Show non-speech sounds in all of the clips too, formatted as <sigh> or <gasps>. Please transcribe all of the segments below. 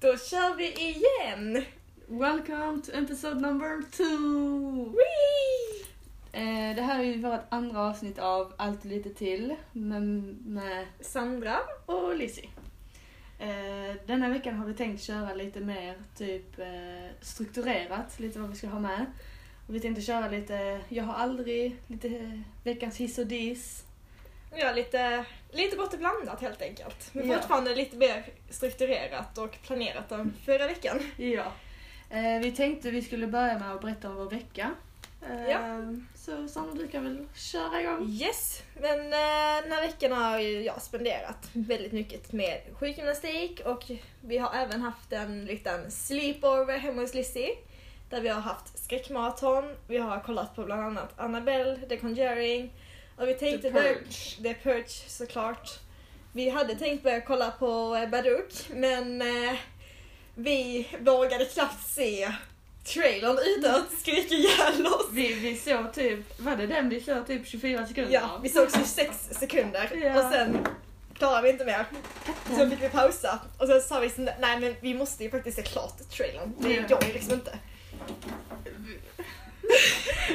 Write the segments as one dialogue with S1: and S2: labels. S1: kör vi igen!
S2: Welcome to episode number two!
S1: Whee!
S2: Eh, det här är ju vårt andra avsnitt av Allt och lite till med, med
S1: Sandra.
S2: och Lizzie. Eh, denna veckan har vi tänkt köra lite mer typ eh, strukturerat, lite vad vi ska ha med. Och vi tänkte köra lite Jag har aldrig, lite eh, veckans hiss och diss.
S1: Ja, lite, lite bort och blandat helt enkelt. Men
S2: Ja.
S1: fortfarande lite mer strukturerat och planerat än förra veckan.
S2: Ja. Eh, vi tänkte vi skulle börja med att berätta om vår vecka. Eh,
S1: Ja.
S2: Så Sandra, du kan väl köra igång?
S1: Yes, men eh, den här veckan har ju jag spenderat väldigt mycket med sjukgymnastik och vi har även haft en liten sleepover hemma hos Lizzie där vi har haft skräckmaraton, vi har kollat på bland annat Annabelle, The Conjuring och vi tänkte
S2: The
S1: börja-
S2: Purge.
S1: The Purge såklart. Vi hade tänkt börja kolla på eh, Badook men eh, vi vågade knappt se trailern utan att skrika ihjäl oss.
S2: Vi, vi såg typ, var det den vi såg typ 24 sekunder
S1: Ja,
S2: av?
S1: vi såg 26 sekunder
S2: Ja.
S1: och sen klarade vi inte mer. Så fick vi pausa och sen sa vi så- nej men vi måste ju faktiskt se klart trailern.
S2: Ja.
S1: Det går ju liksom inte.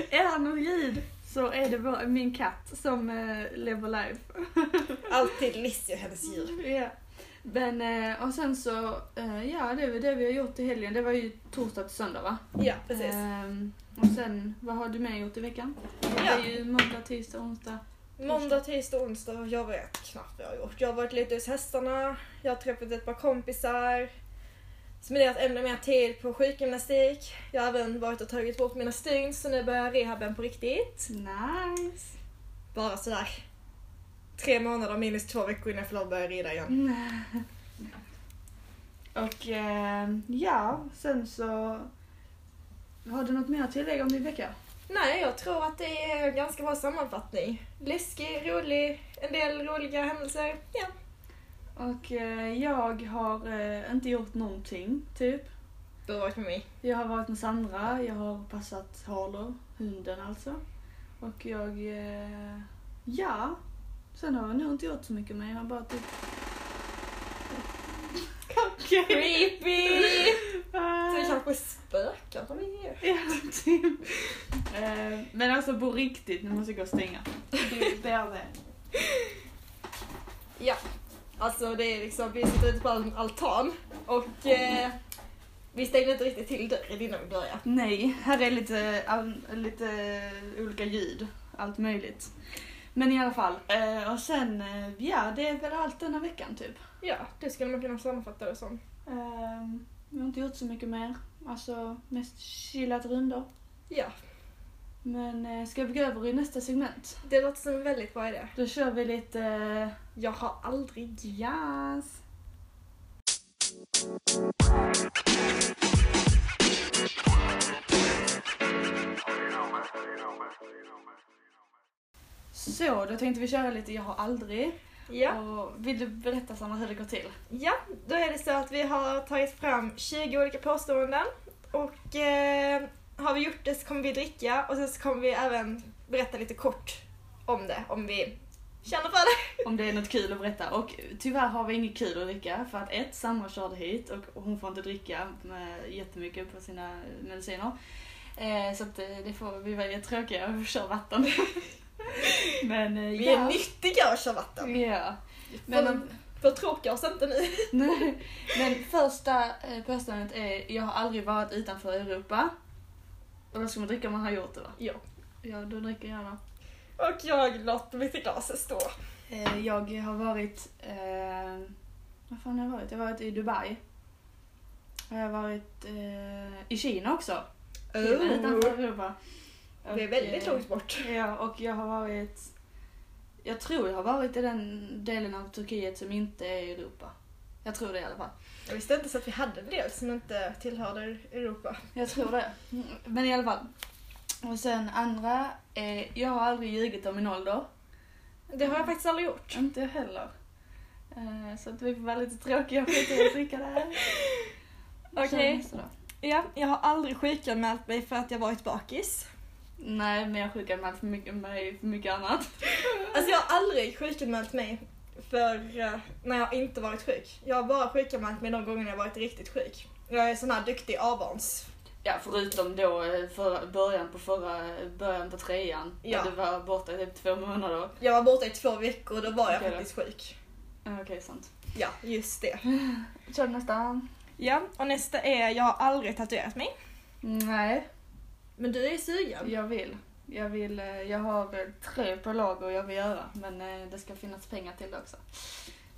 S2: Är han oljud så är det bara min katt som eh, lever life.
S1: Alltid Lizzie och hennes
S2: <laughs>
S1: djur.
S2: Ja. Men eh, och sen så, eh, ja det är väl det vi har gjort i helgen. Det var ju torsdag till söndag va?
S1: Ja, precis.
S2: Ehm, och sen, vad har du med gjort i veckan? Det
S1: Ja.
S2: är ju måndag, tisdag, onsdag.
S1: Måndag, tisdag, onsdag. Jag vet knappt vad jag har gjort. Jag har varit lite hos hästarna, jag har träffat ett par kompisar, spenderat ännu mer tid på sjukgymnastik. Jag har även varit och tagit bort mina stygn så nu börjar rehaben på riktigt.
S2: Nice!
S1: Bara sådär tre månader minus två veckor innan jag får lov att börja rida igen.
S2: <laughs> Och ehm, ja, sen så har du något mer att tillägga om din vecka?
S1: Nej, jag tror att det är en ganska bra sammanfattning. Läskig, rolig, en del roliga händelser. Ja.
S2: Och eh, jag har eh, inte gjort någonting, typ.
S1: Du har varit med mig.
S2: Jag har varit med Sandra, jag har passat Harlow, hunden alltså. Och jag... Eh, ja. Sen har jag nog inte gjort så mycket men jag har bara typ...
S1: Creepy! Så
S2: <laughs>
S1: det
S2: Ah.
S1: kanske spökar på mig.
S2: Ja, typ. Eh, men alltså på riktigt, nu måste jag gå och stänga. Det, det är det.
S1: Ja. Alltså det är liksom, vi sitter ute på en altan och eh, vi stängde inte riktigt till dörren innan vi började.
S2: Nej, här är lite, all, lite olika ljud. Allt möjligt. Men i alla fall. Eh, och sen, eh, ja det är väl allt denna veckan typ.
S1: Ja, det skulle man kunna sammanfatta det som.
S2: Ehm, Jag har inte gjort så mycket mer. Alltså mest chillat rundor.
S1: Ja,
S2: Men eh, ska vi gå över i nästa segment?
S1: det låter som en väldigt bra idé.
S2: Då kör vi lite eh,
S1: Jag har aldrig...
S2: jazz. Så, då tänkte vi köra lite Jag har aldrig.
S1: Ja.
S2: Och vill du berätta Sanna hur det går till?
S1: Ja, då är det så att vi har tagit fram 20 olika påståenden och eh, har vi gjort det så kommer vi dricka och sen så kommer vi även berätta lite kort om det om vi känner för det.
S2: Om det är något kul att berätta. Och tyvärr har vi inget kul att dricka för att ett, Sandra körde hit och hon får inte dricka med jättemycket på sina mediciner. Eh, så att eh, det får, vi väljer tråkiga och kör vatten. <laughs> Men eh,
S1: Vi
S2: ja.
S1: är nyttiga och kör vatten.
S2: Ja.
S1: Men
S2: Men,
S1: förtråka oss inte nu.
S2: nej. men första eh, påståendet är jag har aldrig varit utanför Europa. Och då ska man dricka om man har gjort det va?
S1: Ja.
S2: Ja, då dricker jag då.
S1: Och jag låter mitt glas stå.
S2: Eh, jag har varit... Eh, vad fan har jag varit? Jag har varit i Dubai. Och jag har varit eh, i Kina också. Kina är utanför Europa.
S1: Oh. Det Oh. är
S2: Och,
S1: väldigt
S2: eh,
S1: långt bort.
S2: Ja, och jag har varit... Jag tror jag har varit i den delen av Turkiet som inte är Europa. Jag tror det i alla fall.
S1: Jag visste inte så att vi hade en del som inte tillhörde Europa.
S2: Jag tror det. Mm, Men i alla fall. Och sen andra är, jag har aldrig ljugit om min ålder.
S1: Det har jag faktiskt aldrig gjort.
S2: Inte jag heller. Eh, Så att vi får vara lite tråkiga och skita i att dricka det <laughs> här.
S1: Okej.
S2: Kör nästa då.
S1: Ja, jag har aldrig sjukanmält mig för att jag varit bakis.
S2: Nej, men jag sjukanmält för mycket, mig för mycket annat.
S1: Alltså jag har aldrig sjukanmält mig För eh, när jag inte varit sjuk. Jag har bara sjukanmält mig de gångerna jag varit riktigt sjuk. Jag är sån här duktig avans.
S2: Ja, förutom då eh, förra, början på förra, början på trean.
S1: Ja.
S2: Ja. Du var borta i typ två månader.
S1: Jag var borta i två veckor och då var jag
S2: Okej då.
S1: faktiskt sjuk.
S2: Ja, Okej, sant.
S1: Ja, just det.
S2: Kör nästa.
S1: Ja, och nästa är jag har aldrig tatuerat mig.
S2: Nej,
S1: Men du är ju sugen.
S2: jag vill. Jag vill, eh, jag har eh, tre på lager jag vill göra. Men eh, det ska finnas pengar till det också. Mm.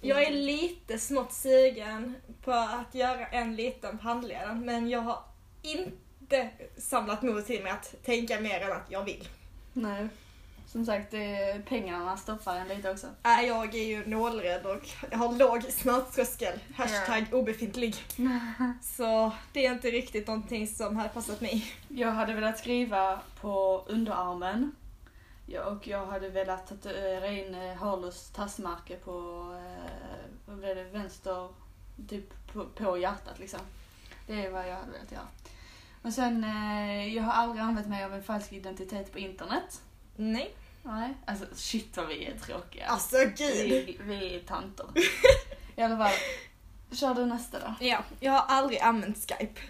S1: Jag är lite smått sugen på att göra en liten på handleden men jag har inte samlat mod till mig att tänka mer än att jag vill.
S2: Nej. Som sagt, eh, pengarna stoppar en lite också.
S1: Äh, Jag är ju nålrädd och jag har låg smärttröskel. Hashtag <laughs> obefintlig. Så det är inte riktigt någonting som hade passat mig.
S2: Jag hade velat skriva på underarmen. Ja, och jag hade velat tatuera in eh, Harlus tassmärke på, eh, vad blev det, vänster, typ på, på hjärtat liksom. Det är vad jag hade velat göra. Och sen, eh, jag har aldrig använt mig av en falsk identitet på internet.
S1: Nej.
S2: Nej. Alltså shit vad vi är tråkiga.
S1: Alltså gud.
S2: vi, vi är tanter. I alla fall, kör du nästa då.
S1: Ja, jag har aldrig använt Skype.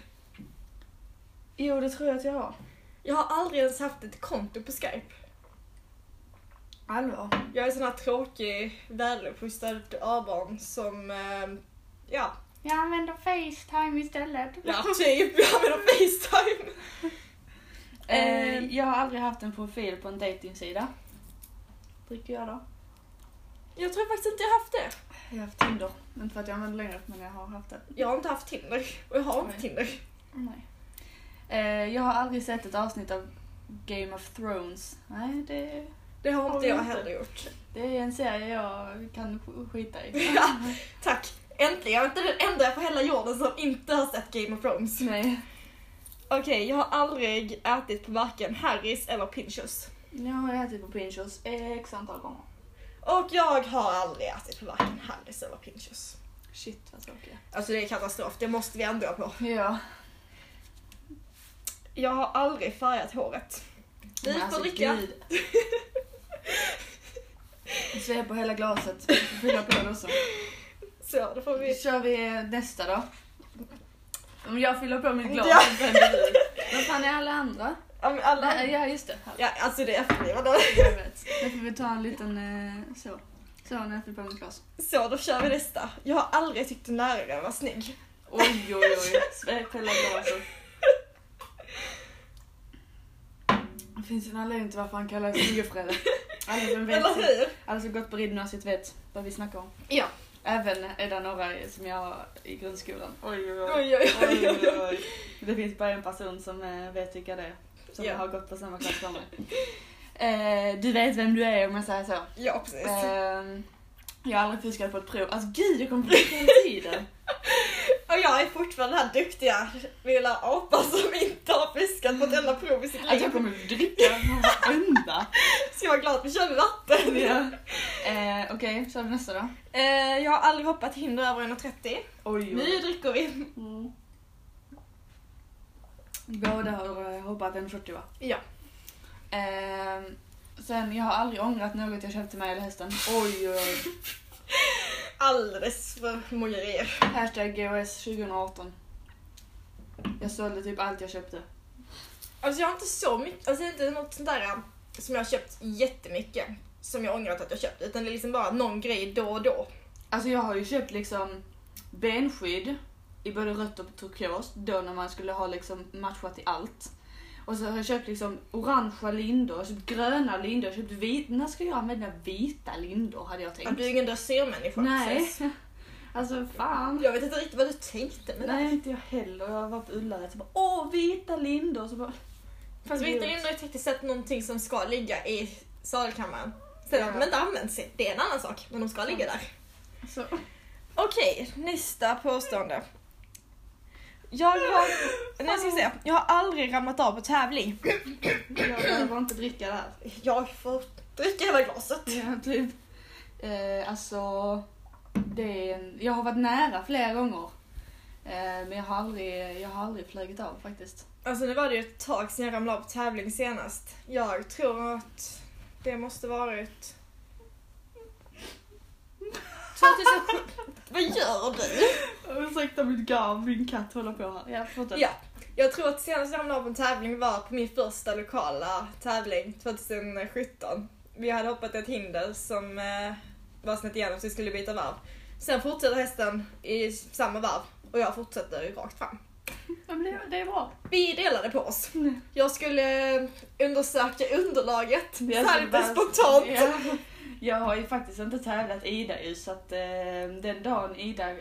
S2: Jo, det tror jag att jag har.
S1: Jag har aldrig ens haft ett konto på Skype.
S2: Allvar?
S1: Jag är sån här tråkig, väluppfostrad abarn som... Eh, ja,
S2: Jag använder Facetime istället.
S1: <laughs> ja, typ. Jag använder Facetime.
S2: Eh, jag har aldrig haft en profil på en dejtingsida. Dricker jag då?
S1: Jag tror faktiskt inte jag har haft det.
S2: Jag har haft Tinder. Inte för att jag använder längre, men jag har haft det.
S1: Jag har inte haft Tinder. Och jag har inte
S2: Nej.
S1: Tinder.
S2: Nej. Eh, jag har aldrig sett ett avsnitt av Game of Thrones. Nej, det,
S1: Det har inte
S2: jag
S1: jag
S2: inte.
S1: heller gjort.
S2: det är en serie jag kan sk- skita <laughs> i.
S1: Ja, tack. Äntligen. Jag är inte den enda på hela jorden som inte har sett Game of Thrones.
S2: Nej.
S1: Okej, jag har aldrig ätit på varken Harris eller Pinchos.
S2: Jag har ätit på Pinchos x antal gånger.
S1: Och jag har aldrig ätit på varken Harris eller Pinchos.
S2: Shit vad tråkiga.
S1: Alltså det är katastrof, det måste vi ändra på.
S2: Ja.
S1: Jag har aldrig färgat håret. Du
S2: Men
S1: får
S2: alltså, <laughs>
S1: dricka.
S2: gud. Svep på hela glaset. Fylla på det också.
S1: Så, då får
S2: Nu
S1: vi...
S2: kör vi nästa då. Om jag fyller på mitt glas
S1: Ja.
S2: så vänder du. Vad fan är alla andra?
S1: Ja, men alla...
S2: Nej, Ja just det. Här.
S1: Ja, alltså det är efterblivet då.
S2: Jag vet. Nu får vi ta en liten eh, så. Så när jag fyller på mitt glas.
S1: Så, då kör vi nästa. Jag har aldrig tyckt en lärare var snygg.
S2: Oj oj oj. Svep hela glaset. Det finns en anledning till varför han kallas Ungefredde. Alla som vet,
S1: Eller hur?
S2: alla som gått på ridgymnasiet vet vad vi snackar om.
S1: Ja.
S2: Även är det några som jag har i grundskolan. Oj oj
S1: Oj, oj, oj, oj, oj.
S2: <laughs> Det finns bara en person som eh, vet vilka det är. Som
S1: Ja.
S2: har gått på samma klass som mig. Eh, du vet vem du är om jag säger så.
S1: Ja, precis.
S2: Eh, jag har aldrig fuskat på ett prov. Alltså gud, jag kommer på det hela <laughs> tiden.
S1: Och jag är fortfarande den här duktiga lilla apan som inte har fiskat på ett enda prov i sitt
S2: Alltså jag
S1: liv.
S2: kommer att dricka varenda.
S1: Så jag är glad att vi kör med vatten.
S2: Ja. Eh, Okej, kör vi nästa då.
S1: Eh, jag har aldrig hoppat hinder över 1,30.
S2: Oj,
S1: Nu dricker vi.
S2: Mm. Båda har eh, hoppat en 40 va?
S1: Ja.
S2: Ehm, sen, jag har aldrig ångrat något jag köpte mig eller hästen. Oj, oj, oj.
S1: Alldeles för många grejer.
S2: Hashtag GOS 2018. Jag sålde typ allt jag köpte.
S1: Alltså jag har inte så mycket, alltså det är inte något sånt där eh, som jag har köpt jättemycket som jag ångrat att jag köpt utan det är liksom bara någon grej då och då.
S2: Alltså jag har ju köpt liksom benskydd i både rött och turkos då när man skulle ha liksom matchat i allt. Och så har jag köpt liksom orangea lindor, jag har köpt gröna lindor, jag har köpt vita. När ska jag använda vita lindor hade jag tänkt.
S1: Att du är ingen dressermänniska
S2: Nej. <laughs>
S1: precis.
S2: Alltså fan.
S1: Jag vet inte riktigt vad du tänkte men
S2: Nej inte jag heller. Jag var på Ullared så bara åh vita lindor. Så bara,
S1: Fast vi hittar ju ändå tekniskt sett någonting som ska ligga i salkammaren. Sen att
S2: Ja.
S1: de inte används, det är en annan sak. Men de ska ligga där.
S2: så.
S1: Okej, nästa påstående. Jag <gasps> har, nu ska vi se, jag har aldrig ramlat av på tävling.
S2: Jag behöver inte dricka det här.
S1: Jag får dricka hela glaset.
S2: <laughs> Ja, typ. Eh, alltså, det är en, jag har varit nära flera gånger. Eh, men jag har, aldrig, jag har aldrig flugit av faktiskt. <laughs>
S1: Alltså nu var det ju ett tag sedan jag ramlade av på tävling senast. Jag tror att det måste varit... 2007. Vad gör du?
S2: Ursäkta mitt garv, min katt håller på här. Ja, fortsätt.
S1: Ja. Jag tror att senast jag hamnade på en tävling var på min första lokala tävling 2017. Vi hade hoppat ett hinder som eh, var snett igenom så vi skulle byta varv. Sen fortsätter hästen i samma varv och jag fortsätter ju rakt fram.
S2: Men det, det är bra.
S1: Vi delade på oss.
S2: Mm.
S1: Jag skulle eh, undersöka underlaget så
S2: Jag
S1: här
S2: skulle
S1: lite
S2: bara-
S1: spontant.
S2: Ja. Jag har ju faktiskt inte tävlat Ida ju så att eh, den dagen Ida,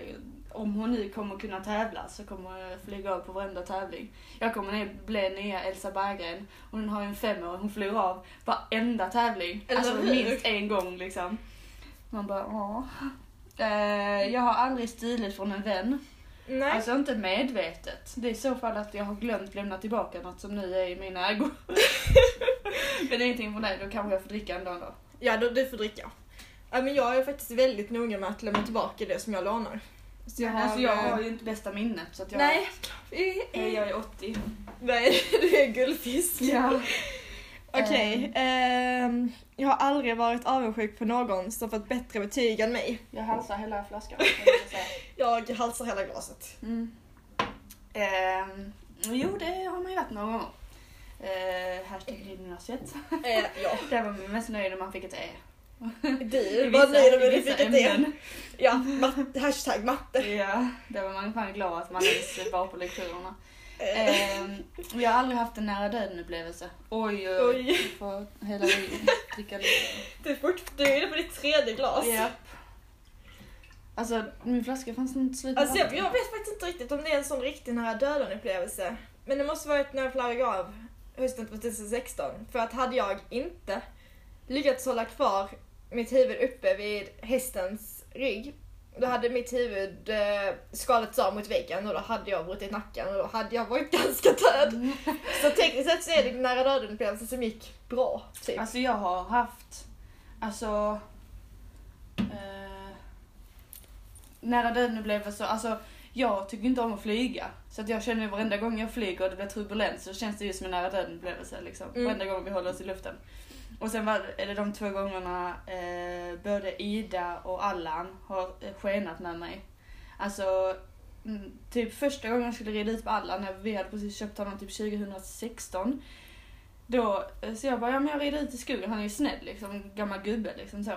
S2: om hon nu kommer kunna tävla så kommer jag flyga av på varenda tävling. Jag kommer ner- bli nya Elsa Berggren. Hon har ju en femåring, hon flyger av varenda tävling.
S1: Eller
S2: alltså
S1: hur?
S2: minst en gång liksom. Man bara ja. Eh, jag har aldrig stulit från en vän.
S1: Nej.
S2: Alltså inte medvetet. Det är i så fall att jag har glömt lämna tillbaka något som nu är i mina
S1: <laughs>
S2: ägor. Men ingenting från dig, då kanske jag får dricka en dag då.
S1: Ja, du, du får dricka. Ja, men jag är faktiskt väldigt noga med att lämna tillbaka det som jag lånar. Så
S2: Jag har, alltså jag har ju inte bästa minnet så att jag,
S1: eh, Nej. Eh,
S2: jag, jag är 80.
S1: Nej, <laughs> du är en guldfisk. Okej, ehm, jag har aldrig varit avundsjuk på någon som fått bättre betyg än mig.
S2: <laughs> Jag halsar hela
S1: <laughs>
S2: flaskan. kan jag säga.
S1: Jag halsar hela glaset.
S2: Mm. Ehm, jo, det har man ju varit någon gång. Eh, hashtag gymnasiet.
S1: Eh, ja.
S2: Där var man mest nöjd om man fick ett E.
S1: <laughs> Du
S2: I
S1: var
S2: vissa-
S1: nöjd om
S2: i
S1: du
S2: vissa
S1: fick ett E.
S2: ämnen.
S1: Ja, mat- hashtag matte. <laughs>
S2: Ja, där var man fan glad att man ens var på lekturerna.
S1: Eh,
S2: Ehm, jag har aldrig haft en nära döden upplevelse. Oj, oj, oj.
S1: Oj,
S2: Jag får hela livet dricka lite.
S1: du är, fort, du är inne på ditt tredje glas.
S2: Japp. Alltså min flaska fanns inte slut. med
S1: Alltså jag,
S2: vatten.
S1: jag vet faktiskt inte riktigt om det är en sån riktig nära döden upplevelse. Men det måste varit när jag flög av hösten 2016. För att hade jag inte lyckats hålla kvar mitt huvud uppe vid hästens rygg. Då hade mitt huvud eh, skalats av mot väggen och då hade jag brutit nacken och då hade jag varit <laughs> ganska död.
S2: Mm.
S1: Så tekniskt sett så är det en nära döden upplevelse som gick bra. Typ.
S2: Alltså jag har haft, alltså... Eh, nära döden upplevelse, alltså jag tycker inte om att flyga. Så att jag känner ju varenda gång jag flyger och det blir turbulens så känns det ju som en nära döden upplevelse liksom.
S1: Mm.
S2: Varenda gång vi håller oss i luften. Och sen var är det de två gångerna eh, både Ida och Allan har eh, skenat med mig. Alltså Mm, typ första gången jag skulle rida ut på Allan, när vi hade precis köpt honom typ 2016. Då, eh, så jag bara, ja men jag rider ut i skogen, han är ju snäll liksom, en gammal gubbe liksom så.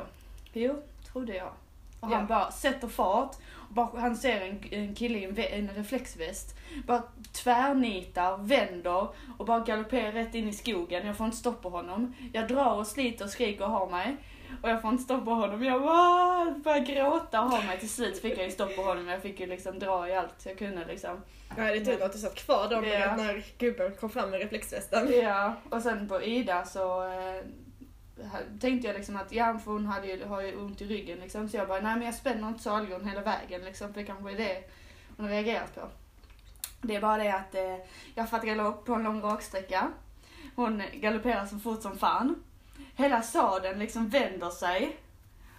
S2: Jo, trodde jag. Och han
S1: Ja.
S2: bara sätter fart, och bara, han ser en, en kille i en, vä- en reflexväst, bara tvärnitar, vänder och bara galopperar rätt in i skogen. Jag får inte stopp på honom. Jag drar och sliter och skriker och har mig. Och jag får inte stopp på honom. Jag bara "Ah!" börjar gråta och ha mig. Till slut fick jag ju stopp på honom. Jag fick ju liksom dra i allt jag kunde liksom.
S1: Nej, det är tur att du satt kvar då
S2: Ja.
S1: när gubben kom fram med <laughs> reflexvästen.
S2: Ja, och sen på Ida så eh, ha- tänkte jag liksom att ja, för hon hade ju, har ju ont i ryggen liksom. Så jag bara, nej men jag spänner inte salgon hela vägen liksom. För det kanske är det hon har reagerat på. Det är bara det att eh, jag fattar galopp på en lång raksträcka. Hon galopperar så fort som fan. Hela sadeln liksom vänder sig.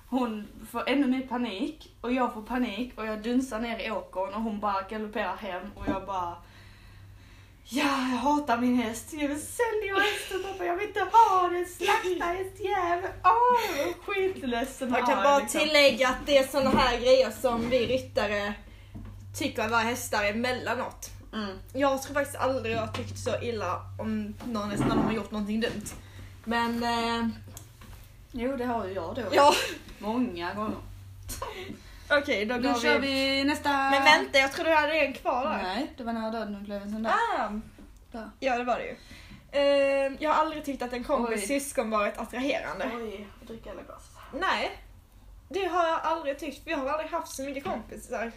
S2: Hon får ännu mer panik och jag får panik och jag dunsar ner i åkern och hon bara galopperar hem och jag bara Ja, jag hatar min häst. Jag vill sälja hästen för jag vill inte ha den. Slakta hästjävel. Åh, jag var skitledsen.
S1: Jag kan
S2: Ja,
S1: bara
S2: liksom.
S1: tillägga att det är sådana här grejer som vi ryttare tycker att våra hästar är mellanåt.
S2: Mm.
S1: Jag tror faktiskt aldrig jag har tyckt så illa om någon häst när de har gjort någonting dumt. Men eh,
S2: Jo, det har ju jag då.
S1: ja,
S2: Många gånger.
S1: okej då
S2: Nu
S1: går
S2: kör
S1: vi.
S2: vi nästa.
S1: Men vänta, jag tror du hade en kvar där.
S2: Nej, det var nära döden-upplevelsen där.
S1: Ah,
S2: Där.
S1: ja, det var det ju. Eh, jag har aldrig tyckt att en kompis
S2: Oj.
S1: syskon varit attraherande.
S2: Oj, jag dricker alla glas.
S1: Nej, det har jag aldrig tyckt. Vi har aldrig haft så mycket kompisar.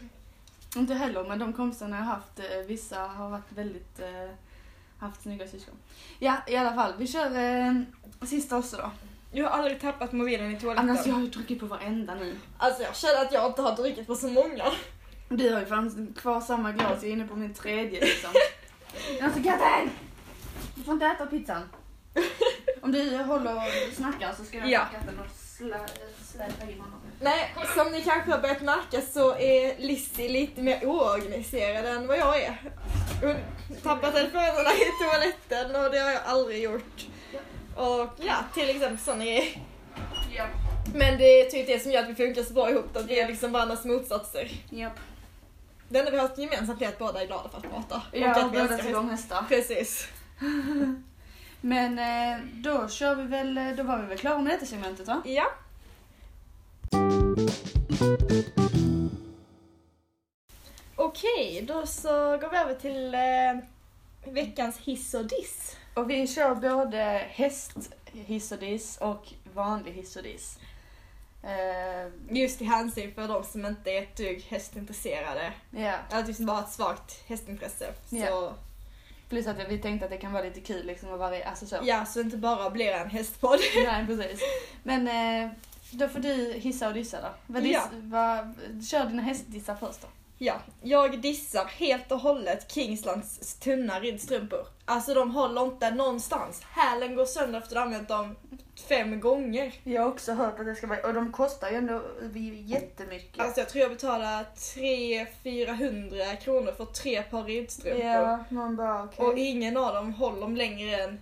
S2: Inte heller, men de kompisarna jag haft, eh, vissa har varit väldigt, eh, haft snygga syskon. Ja, i alla fall, vi kör eh, sista också då.
S1: Jag har aldrig tappat mobilen i toaletten.
S2: Annars, jag har ju druckit på varenda nu.
S1: Alltså jag känner att jag inte har druckit på så många.
S2: Du har ju fan kvar samma glas, jag är inne på min tredje
S1: <laughs>
S2: liksom. Alltså katten! Du får inte äta
S1: <laughs>
S2: pizzan. Om du håller och snackar så ska jag
S1: Ja.
S2: ta katten och slä, släpa in honom.
S1: Nej, som ni kanske har börjat märka så är Lizzie lite mer oorganiserad än vad jag är. Hon tappar telefonerna i toaletten och det har jag aldrig gjort. Och ja, till exempel sådana grejer.
S2: Ja.
S1: Men det är typ det som gör att vi funkar så bra ihop, att vi är
S2: Ja.
S1: liksom varandras motsatser.
S2: Japp.
S1: Det enda vi har gemensamt är att båda är glada för att prata.
S2: Ja,
S1: att vi
S2: båda
S1: älskar
S2: tycker om hästar.
S1: Precis.
S2: Men eh, då kör vi väl, eh, då var vi väl klara med detta segmentet va?
S1: Ja. Okej, då så går vi över till eh, veckans hiss och diss.
S2: Och vi kör både häst hiss och diss och vanlig hiss och diss. Eh,
S1: Just i hänsyn för de som inte är ett dugg hästintresserade.
S2: ja.
S1: Eller typ som bara har ett svagt hästintresse. Så,
S2: Ja. Plus att vi tänkte att det kan vara lite kul liksom att vara alltså <laughs> så.
S1: ja, så det inte bara blir en hästpodd. <laughs>
S2: Nej precis. Men eh, då får du hissa och dissa då. Vad diss,
S1: Ja.
S2: vad, kör dina hästdissar först då.
S1: Ja, jag dissar helt och hållet Kingslands tunna ridstrumpor. Alltså de håller inte någonstans. Hälen går sönder efter att ha använt dem fem gånger.
S2: Jag har också hört att det ska vara, och de kostar ju ändå jättemycket.
S1: Alltså jag tror jag betalade 300-400 kronor för tre par ridstrumpor.
S2: ja, man bara okej.
S1: Och ingen av dem håller dem längre än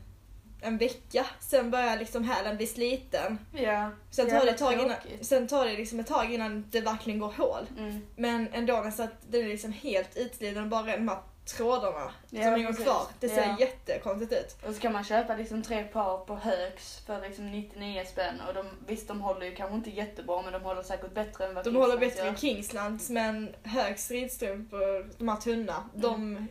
S1: en vecka. Sen börjar liksom hälen bli sliten.
S2: Ja.
S1: Sen tar,
S2: Jävla
S1: det tag innan,
S2: tråkigt.
S1: sen tar det liksom ett tag innan det verkligen går hål.
S2: Mm.
S1: Men ändå nästan att den är liksom helt utsliten och bara de här trådarna
S2: Ja,
S1: som hänger
S2: precis.
S1: kvar. Det ser
S2: Ja.
S1: jättekonstigt ut.
S2: Och så kan man köpa liksom tre par på Högs för liksom 99 spänn. Och de, visst, de håller ju kanske inte jättebra men de håller säkert bättre än vad
S1: De håller
S2: Kingslands
S1: bättre än Kingslands men Högs ridstrumpor, de här tunna, de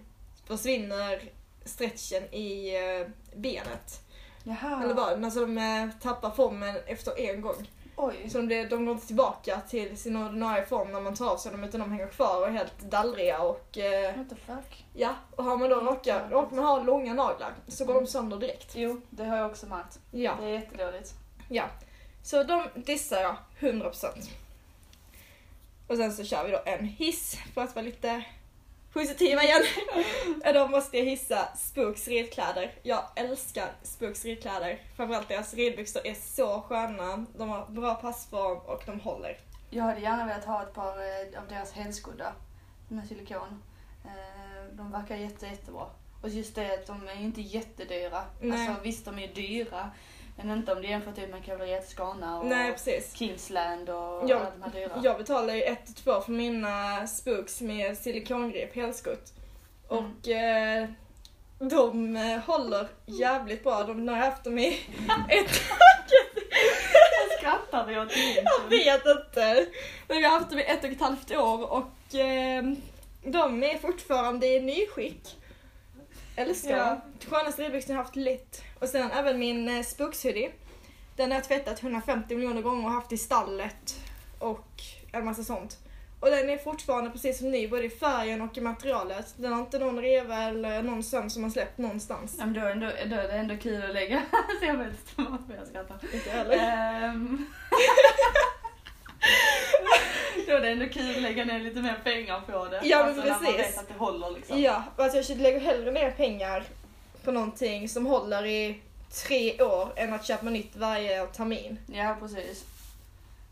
S1: försvinner stretchen i eh, benet.
S2: Jaha.
S1: Eller vad? Alltså de eh, tappar formen efter en gång.
S2: Oj.
S1: Så de, blir- de går inte tillbaka till sin ordinarie form när man tar av sig dem utan de hänger kvar och är helt dallriga och eh,
S2: What the fuck?
S1: ja. Och har man då raka, råkar man ha långa naglar så går de sönder direkt.
S2: Jo, det har jag också märkt.
S1: Ja.
S2: Det är jättedåligt.
S1: Ja. Så de dissar jag 100%. Och sen så kör vi då en hiss för att vara lite positiva igen. Och då måste jag hissa Spooks ridkläder. Jag älskar Spooks ridkläder. Framförallt deras ridbyxor är så sköna. De har bra passform och de håller.
S2: Jag hade gärna velat ha ett par eh, av deras hälskodda med silikon. Eh, De verkar jätte, jättebra. Och just det att de är ju inte jättedyra.
S1: Nej.
S2: Alltså visst, de är dyra. Men inte om det jämfört typ med Cavalier Toscana och
S1: Nej precis.
S2: Kingsland och
S1: Ja,
S2: alla de här dyra.
S1: Jag betalar ju 1 två för mina Spooks med silikongrip helskott. Och eh, de eh, håller jävligt bra. De har haft dem i <laughs> ett
S2: <laughs> skrattar vi åt det.
S1: Jag vet inte. Men vi har haft dem i ett och ett halvt år och eh, de är fortfarande i nyskick. Älskar
S2: Ja.
S1: dem. Skönaste ridbyxorna jag har haft lätt. Och sen även min eh, spookshoodie. Den har jag tvättat 150 miljoner gånger och haft i stallet och en massa sånt. Och den är fortfarande precis som ny både i färgen och i materialet. Den har inte någon reva eller någon söm som har släppt någonstans.
S2: Ja, men då, är ändå, då är det ändå kul att lägga. <laughs> Så jag vet inte varför jag skrattar.
S1: Inte heller.
S2: Ehm. <laughs> då är det ändå kul att lägga ner lite mer pengar på det. Alltså,
S1: Ja, men
S2: När man
S1: precis.
S2: vet att det håller liksom.
S1: Ja, och att jag skulle lägga hellre ner pengar på någonting som håller i tre år än att köpa nytt varje termin.
S2: Ja, precis.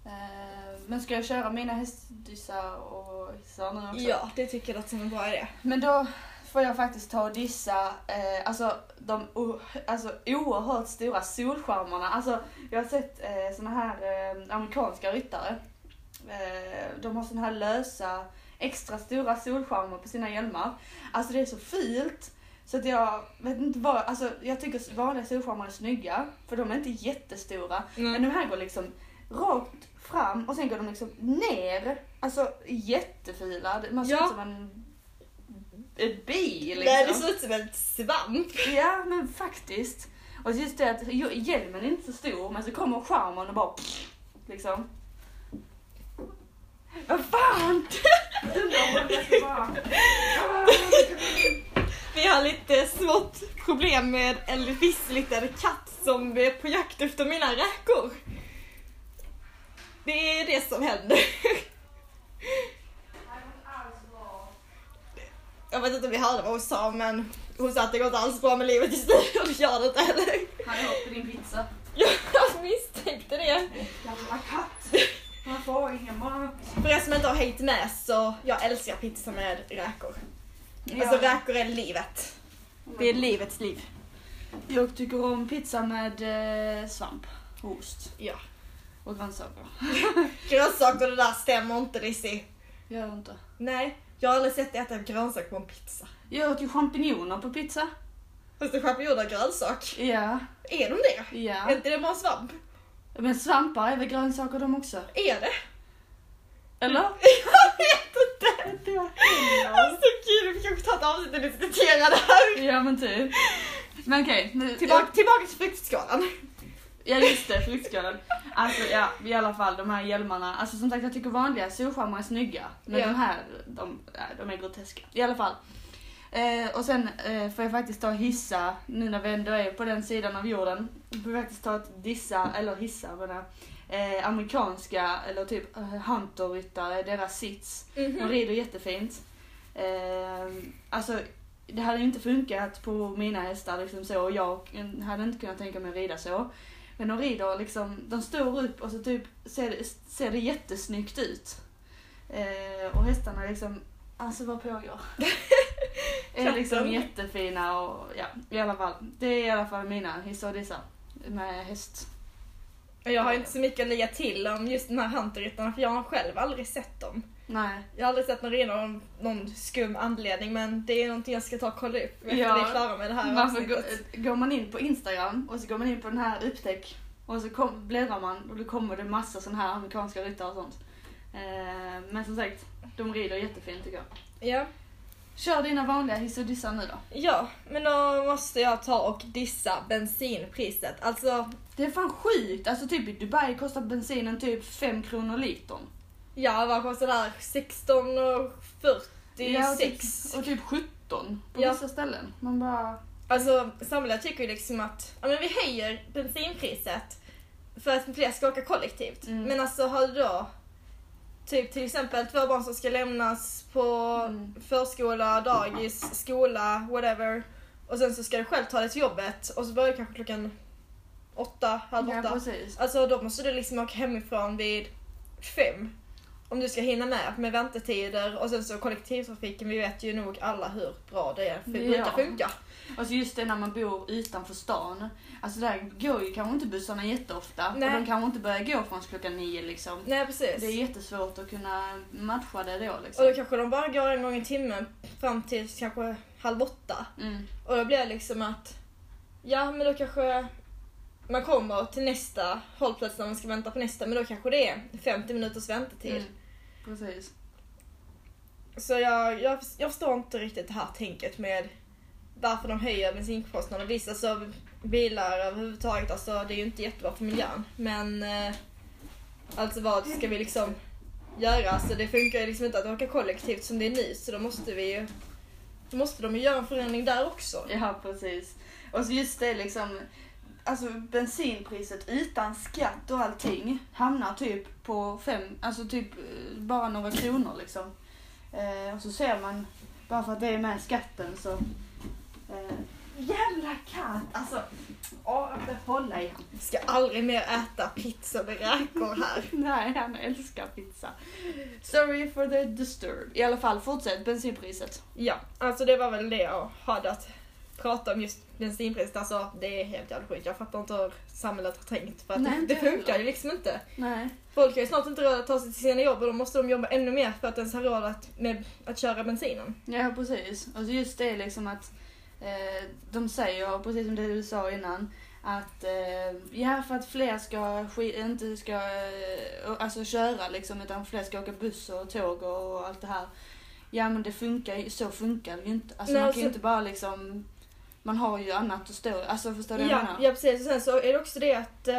S2: Ehm, Men ska jag köra mina hästdissar och hissar nu också?
S1: Ja, det tycker jag låter som en bra idé.
S2: Men då får jag faktiskt ta och dissa eh, alltså, de o- alltså, oerhört stora solskärmarna. Alltså, jag har sett eh, såna här eh, amerikanska ryttare. Eh, de har såna här lösa, extra stora solskärmar på sina hjälmar. Alltså det är så fult. Så att jag vet inte vad, alltså jag tycker vanliga solskärmar är snygga för de är inte jättestora.
S1: Mm.
S2: Men de här går liksom rakt fram och sen går de liksom ner. Alltså jättefila. Man ser
S1: Ja.
S2: ut som en ett bi liksom.
S1: Nej, det ser ut som en svamp.
S2: Ja men faktiskt. Och just det att ju- hjälmen är inte så stor men så kommer charmen och bara liksom. Vad <laughs> fan! Undrar om jag ska bara-
S1: Vi har lite smått problem med en visslitad katt som är på jakt efter mina räkor. Det är det som händer. <laughs> Jag vet inte om vi hörde vad hon sa men hon sa att det går inte alls bra med livet just nu och <laughs> det gör det inte heller.
S2: Han åt på din pizza.
S1: Jag misstänkte det.
S2: Jävla katt. Man får ingen mat.
S1: För er som inte har hängt med så jag älskar pizza med räkor. Alltså
S2: Ja.
S1: räkor är livet. Det är livets liv.
S2: Jag tycker om pizza med eh, svamp och ost.
S1: Ja.
S2: Och grönsaker.
S1: Grönsaker det där stämmer inte Lizzie.
S2: Gör jag inte.
S1: Nej, jag har aldrig sett dig äta grönsak på en pizza.
S2: Jag åt ju champinjoner på pizza.
S1: Fast det champinjoner är grönsak.
S2: Ja,
S1: Är de det? Är
S2: ja.
S1: inte det bara svamp?
S2: Men svampar är väl grönsaker de också?
S1: Är
S2: <laughs>
S1: det?
S2: Eller?
S1: Jag vet inte!
S2: Det var
S1: Alltså gud, vi kanske tar ett avsnitt och diskuterar det här.
S2: Ja men typ. Men okej. nu-
S1: Tillbaka, tillbaka till fruktskalan.
S2: Ja just det, flyktskalan. Alltså ja, i alla fall de här hjälmarna. Alltså som sagt jag tycker vanliga solskärmar är snygga. Men
S1: Ja.
S2: de här, de, ja, de är groteska. I alla fall. Eh, och sen eh, får jag faktiskt ta och hissa, nu när vi ändå är på den sidan av jorden. Får jag faktiskt ta att dissa, eller hissa menar jag, eh, amerikanska eller typ eh, hunterryttare, deras sits. De
S1: Mm.
S2: rider jättefint. Eh, alltså, det hade ju inte funkat på mina hästar liksom så och jag hade inte kunnat tänka mig att rida så. Men de rider liksom, de står upp och så typ ser, det- ser det jättesnyggt ut. Eh, och hästarna liksom, alltså vad pågår? är liksom
S1: Katten.
S2: jättefina och ja, i alla fall. Det är i alla fall mina hissar och dissar med häst.
S1: Jag har inte så mycket att lägga till om just den här hunterryttarna för jag har själv aldrig sett dem.
S2: Nej.
S1: Jag har aldrig sett någon rena av någon skum anledning men det är någonting jag ska ta och kolla upp efter
S2: Ja.
S1: vi är klara med det här
S2: Varför går,
S1: avsnittet.
S2: går man in på Instagram och så går man in på den här upptäck och så kom, bläddrar man och då kommer det massa sådana här amerikanska ryttare och sånt. Eh, men som sagt, de rider jättefint tycker jag.
S1: Ja.
S2: Kör dina vanliga hiss och dissar nu då.
S1: ja, men då måste jag ta och dissa bensinpriset. Alltså,
S2: Det är fan sjukt! Alltså typ i Dubai kostar bensinen typ 5 kronor litern.
S1: ja vad kostar det här? 16 och 46.
S2: Ja, och typ, och typ 17 på
S1: Ja.
S2: vissa ställen. Man bara...
S1: Alltså samhället tycker ju liksom att ja, men vi höjer bensinpriset för att fler ska åka kollektivt.
S2: Mm.
S1: Men alltså har du då typ till exempel två barn som ska lämnas på
S2: Mm.
S1: förskola, dagis, skola, whatever. Och sen så ska du själv ta dig till jobbet och så börjar kanske klockan åtta, halv
S2: Ja,
S1: åtta.
S2: precis.
S1: Alltså då måste du liksom åka hemifrån vid fem. Om du ska hinna med med väntetider och sen så kollektivtrafiken, vi vet ju nog alla hur bra det är, för det brukar
S2: Ja.
S1: funka.
S2: Alltså just det när man bor utanför stan. Alltså där går ju kanske inte bussarna jätteofta.
S1: Nej.
S2: Och de kanske inte börjar gå förrän klockan nio liksom.
S1: Nej precis.
S2: Det är jättesvårt att kunna matcha det då
S1: Och då
S2: liksom.
S1: kanske de bara går en gång i timmen fram till kanske halv åtta.
S2: Mm.
S1: Och då blir det liksom att, ja men då kanske man kommer till nästa hållplats när man ska vänta på nästa, men då kanske det är 50 minuters väntetid.
S2: Mm. Precis.
S1: Så jag, jag, jag förstår inte riktigt det här tänket med varför de höjer bensinkostnaderna. Visst, alltså bilar överhuvudtaget, alltså det är ju inte jättebra för miljön. Men eh, alltså vad ska vi liksom göra? Alltså det funkar ju liksom inte att åka kollektivt som det är nu, så då måste vi ju då måste de ju göra en förändring där också.
S2: Ja, precis. Och så just det liksom, alltså bensinpriset utan skatt och allting hamnar typ på fem, alltså typ eh, bara några kronor liksom. Eh, och så ser man, bara för att det är med skatten så... Eh, jävla katt! Alltså, åh, jag får hålla i honom.
S1: Ska aldrig mer äta pizza med räkor här.
S2: <laughs> Nej, han älskar pizza. Sorry for the disturb. I alla fall, fortsätt bensinpriset.
S1: Ja, alltså det var väl det jag hade att prata om just bensinpriset. Alltså det är helt jävla sjukt. Jag fattar inte hur samhället har tänkt. För att
S2: Nej,
S1: det,
S2: inte
S1: det funkar
S2: heller.
S1: ju liksom inte.
S2: Nej.
S1: Folk har ju snart inte råd att ta sig till sina jobb och då måste de jobba ännu mer för att ens ha råd att, med, att köra bensinen.
S2: Ja, precis. Och så just det liksom att eh, de säger, precis som det du sa innan, att eh, ja, för att fler ska ski- inte ska eh, alltså köra liksom, utan fler ska åka buss och tåg och, och allt det här. Ja, men det funkar ju, så funkar det ju inte. Alltså
S1: Nej,
S2: man kan ju
S1: alltså-
S2: inte bara liksom, man har ju annat att stå, alltså förstår du vad jag
S1: Ja,
S2: menar?
S1: ja, precis. Och sen så är det också det att eh,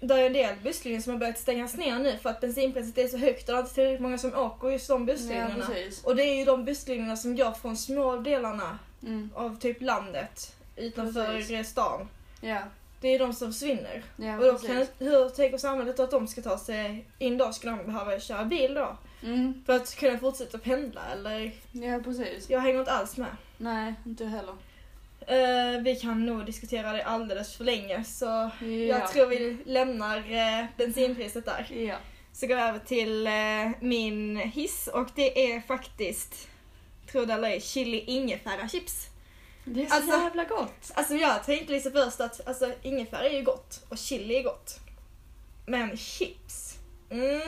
S1: det är en del busslinjer som har börjat stängas ner nu för att bensinpriset är så högt och det är inte tillräckligt många som åker just de
S2: ja
S1: busslinjerna.
S2: precis.
S1: och det är ju de busslinjerna som går från små delarna
S2: Mm.
S1: av typ landet utanför
S2: Precis.
S1: stan.
S2: Ja.
S1: Det är de som försvinner.
S2: Ja,
S1: Och då
S2: precis.
S1: kan, hur tänker samhället att de ska ta sig in då? Ska de behöva köra bil då?
S2: Mm,
S1: För att kunna fortsätta pendla eller?
S2: ja, precis.
S1: Jag hänger inte alls med.
S2: Nej, inte jag heller.
S1: Eh, vi kan nog diskutera det alldeles för länge så
S2: Ja.
S1: jag tror vi lämnar eh, bensinpriset där.
S2: Ja.
S1: Så går jag över till eh, min hiss och det är faktiskt, tro det eller ej, chili ingefära chips.
S2: Det är så
S1: Alltså-
S2: jävla gott.
S1: Alltså jag tänkte liksom först att alltså, ingefära är ju gott och chili är gott. Men chips. Mm.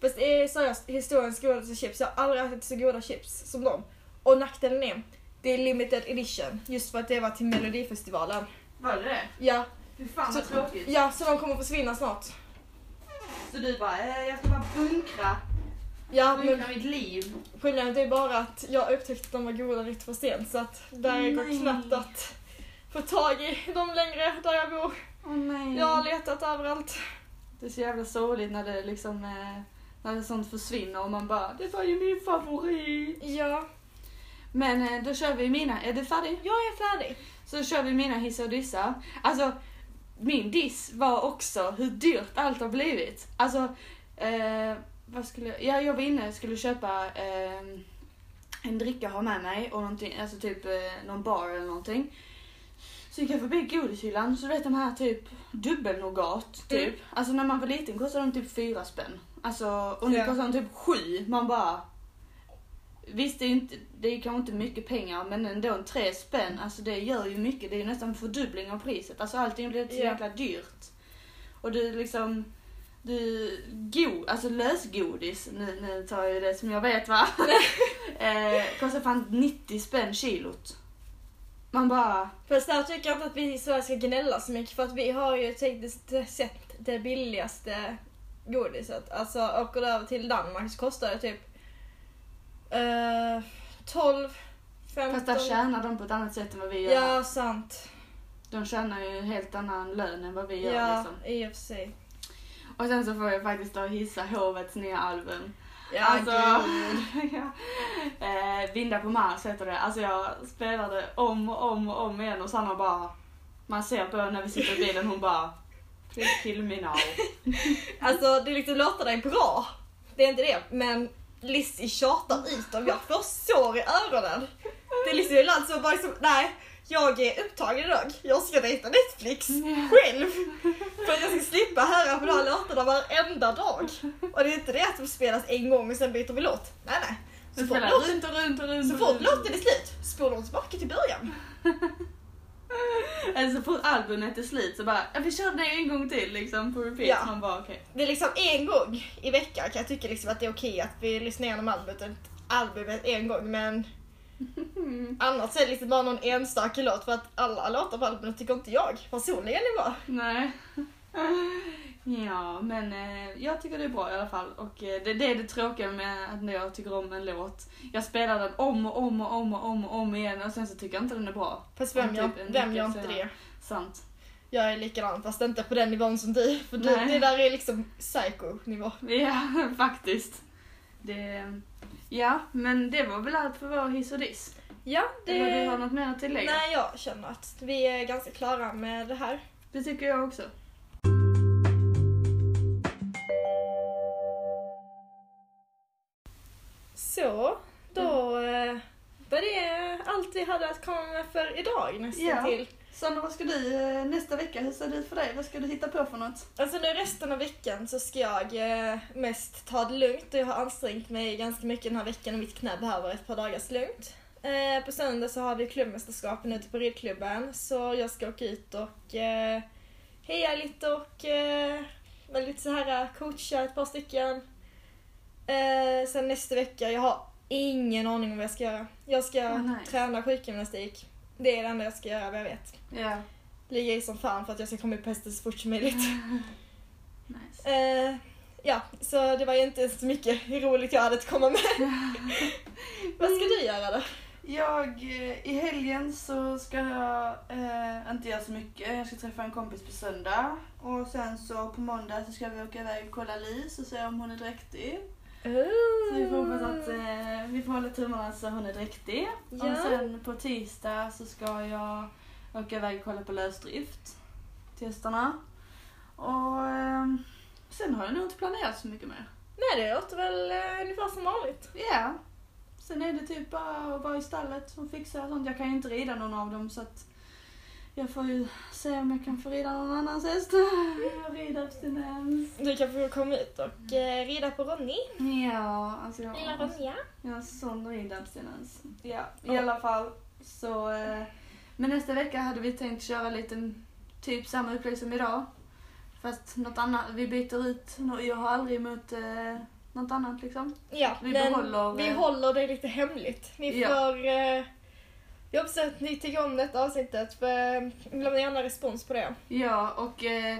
S1: Fast det är seriöst historiens godaste chips. Jag har aldrig ätit så goda chips som dem. Och nackdelen är, det är limited edition. Just för att det var till melodifestivalen.
S2: Var det det?
S1: Ja,
S2: Fy fan
S1: Så-
S2: vad tråkigt.
S1: ja så de kommer försvinna snart.
S2: Så du bara, eh, jag ska bara bunkra,
S1: Ja, men
S2: bunkra mitt liv.
S1: skillnaden är bara att jag upptäckte att de var goda lite för sent. Så att där
S2: Nej.
S1: går knappt att få tag i dem längre där jag bor.
S2: Åh oh, nej.
S1: Jag har letat överallt.
S2: Det är så jävla sorgligt när det liksom, eh, när det sånt försvinner och man bara, det var ju min favorit.
S1: Ja,
S2: Men eh, då kör vi mina, är du färdig?
S1: jag är färdig.
S2: Så kör vi mina hissar och dissar. Alltså, min diss var också hur dyrt allt har blivit. Alltså, eh, vad skulle jag... Ja, jag var inne och skulle köpa eh, en dricka att ha med mig och någonting, alltså typ eh, någon bar eller någonting. Så gick jag förbi godishyllan, så du vet de här typ dubbelnougat, typ.
S1: Mm.
S2: Alltså när man var liten kostade de typ fyra spänn. Alltså, och nu
S1: Ja.
S2: kostar de typ sju. Man bara... Visst, det är, ju inte, det är kanske inte mycket pengar, men ändå en tre spänn, alltså det gör ju mycket. Det är ju nästan en fördubbling av priset. Alltså allting blir så
S1: Ja.
S2: jäkla dyrt. Och du liksom, du, go, alltså lösgodis, nu, nu tar jag ju det som jag vet
S1: <laughs>
S2: va. eh, kostar fan 90 spänn kilot. Man bara,
S1: Fast där tycker jag inte att vi i Sverige ska gnälla så mycket för att vi har ju tekniskt sett det billigaste godiset. Alltså åker du över till Danmark så kostar det typ eh, 12, 15...
S2: fast där tjänar de på ett annat sätt än vad vi gör.
S1: Ja, sant.
S2: De tjänar ju en helt annan lön än vad vi
S1: Ja,
S2: gör liksom.
S1: i och för sig.
S2: Och sen så får jag faktiskt då hissa hovets nya album.
S1: Ja,
S2: alltså,
S1: gud. <laughs>
S2: ja. Eh, Vinda på Mars heter det. Alltså jag spelade om och om och om igen och Sanna bara, man ser på henne när vi sitter i bilen, hon bara Please kill me now.
S1: Alltså det liksom låter dig bra. Det är inte det, men Lizzie tjatar ut om jag får sår i öronen. Det är liksom ibland så bara liksom, nej, jag är upptagen idag. Jag ska dejta Netflix. själv. För att jag ska slippa höra på de här låtarna varenda dag. Och det är inte det att de spelas en gång och sen byter vi låt. Nej, nej. Så
S2: Den
S1: fort,
S2: spelar
S1: låt,
S2: runt och runt och runt.
S1: så
S2: och
S1: fort
S2: runt.
S1: låten är slut spolar de tillbaka till början.
S2: Eller Eh, så fort albumet är slut så bara, ja, vi kör det en gång till liksom på repeat.
S1: Ja.
S2: Man bara okej.
S1: Det är liksom en gång i veckan kan jag tycka liksom att det är okej att vi lyssnar igenom albumet, albumet en gång. <laughs> Men annars är det liksom bara någon enstaka låt för att alla låtar på albumet tycker inte jag personligen är bra.
S2: Nej. <laughs> Ja, men eh, jag tycker det är bra i alla fall. Och eh, det, det är det tråkiga med att när jag tycker om en låt. Jag spelar den om och om och om och om och om igen och sen så tycker jag inte den är bra.
S1: Fast vem
S2: Om
S1: gör,
S2: typ en
S1: vem
S2: vecka
S1: gör inte
S2: senare.
S1: det?
S2: Sant. <laughs>
S1: Jag är likadan fast inte på den nivån som du. För du,
S2: Nej.
S1: det där är liksom psycho-nivå.
S2: Ja, faktiskt. Det, ja, men det var väl allt för vår hiss och diss.
S1: Ja, det...
S2: Eller du har något mer att tillägga?
S1: Nej, jag känner att vi är ganska klara med det här.
S2: Det tycker jag också.
S1: Så, då eh, var det allt vi hade att komma med för idag nästan
S2: Ja.
S1: till.
S2: Sandra, vad ska du eh, nästa vecka? Hur ser det ut för dig? Vad ska du hitta på för något?
S1: Alltså nu resten av veckan så ska jag eh, mest ta det lugnt och jag har ansträngt mig ganska mycket den här veckan och mitt knä behöver ett par dagars lugnt. Eh, på söndag så har vi klubbmästerskapen ute på ridklubben så jag ska åka ut och eh, heja lite och eh, väl lite så här eh, coacha ett par stycken. Eh, sen nästa vecka, jag har ingen aning om vad jag ska göra. Jag ska
S2: Ah, nice.
S1: träna sjukgymnastik. Det är det enda jag ska göra vad jag vet.
S2: Ja,
S1: Ligga i som fan för att jag ska komma upp på hästen så fort som möjligt.
S2: nice.
S1: Eh, ja, så det var ju inte så mycket roligt jag hade att
S2: <laughs>
S1: komma med. Vad ska du göra då?
S2: Jag, eh, i helgen så ska jag eh, inte göra så mycket. Jag ska träffa en kompis på söndag. Och sen så på måndag så ska vi åka iväg och kolla Lis och se om hon är dräktig. Oh, Så vi får hoppas att eh, vi får hålla tummarna så hon är dräktig.
S1: Ja.
S2: Och sen på tisdag så ska jag åka iväg och kolla på lösdrift. Testerna. Och eh, sen har jag nog inte planerat så mycket mer.
S1: Nej, det låter väl eh, ungefär som vanligt.
S2: Ja. Sen är det typ bara att vara i stallet och fixa och sånt. Jag kan ju inte rida någon av dem så att jag får ju se om jag kan få rida någon annans häst. <laughs> Jag rider abstinens.
S1: Du kan få komma ut och eh, rida på Ronny.
S2: Mm. Ja, alltså jag,
S1: Ronja.
S2: jag har sån ridabstinens. Ja, i alla fall. Så, eh, men nästa vecka hade vi tänkt köra lite typ samma upplägg som idag. Fast något annat, vi byter ut, nå- jag har aldrig emot eh, något annat liksom.
S1: Ja,
S2: Vi
S1: men
S2: behåller,
S1: vi
S2: eh,
S1: håller det lite hemligt. Ni
S2: Ja.
S1: får... Eh, jag hoppas att ni tycker om detta avsnittet. För, eh, lämna gärna respons på det.
S2: Ja, och eh,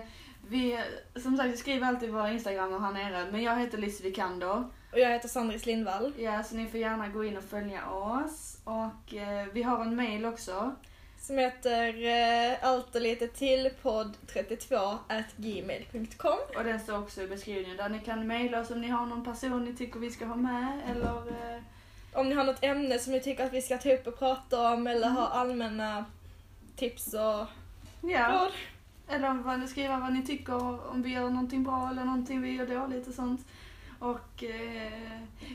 S2: vi, som sagt, vi skriver alltid våra instagramer här nere. Men jag heter Liz Vikander.
S1: Och jag heter Sandris Lindvall.
S2: Ja, så ni får gärna gå in och följa oss. Och eh, vi har en mail också.
S1: Som heter eh, allt och lite till podd 32 at gmail.com.
S2: Och den står också i beskrivningen där ni kan mejla oss om ni har någon person ni tycker vi ska ha med eller eh,
S1: Om ni har något ämne som ni tycker att vi ska ta upp och prata om eller
S2: Mm.
S1: har allmänna tips och
S2: ja,
S1: råd.
S2: eller om vad ni skriver vad ni tycker om vi gör någonting bra eller någonting vi gör dåligt och sånt. Och eh,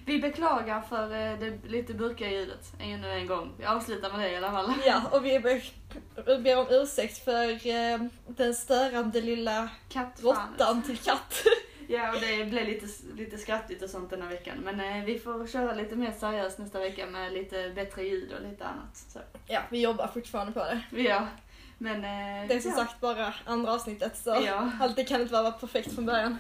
S2: vi beklagar för eh, det lite burkiga ljudet ännu en gång. Vi avslutar med det i alla fall.
S1: Ja, och vi ber, ber om ursäkt för eh, den störande lilla
S2: Kattfan.
S1: råttan till katt. <laughs>
S2: Ja, och det blev lite, lite skrattigt och sånt den här veckan. Men eh, vi får köra lite mer seriöst nästa vecka med lite bättre ljud och lite annat. Så.
S1: Ja, vi jobbar fortfarande på det.
S2: Ja, men... eh,
S1: Det är som
S2: ja.
S1: sagt bara andra avsnittet så
S2: Ja.
S1: allt det kan inte vara perfekt från början.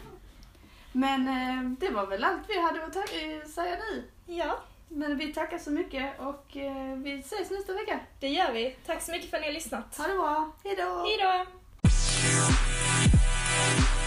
S2: Men eh, det var väl allt vi hade att ta- eh, säga nu.
S1: Ja,
S2: Men vi tackar så mycket och eh, vi ses nästa vecka.
S1: det gör vi. Tack så mycket för att ni har lyssnat.
S2: Ha det bra. Hej då!
S1: Hejdå!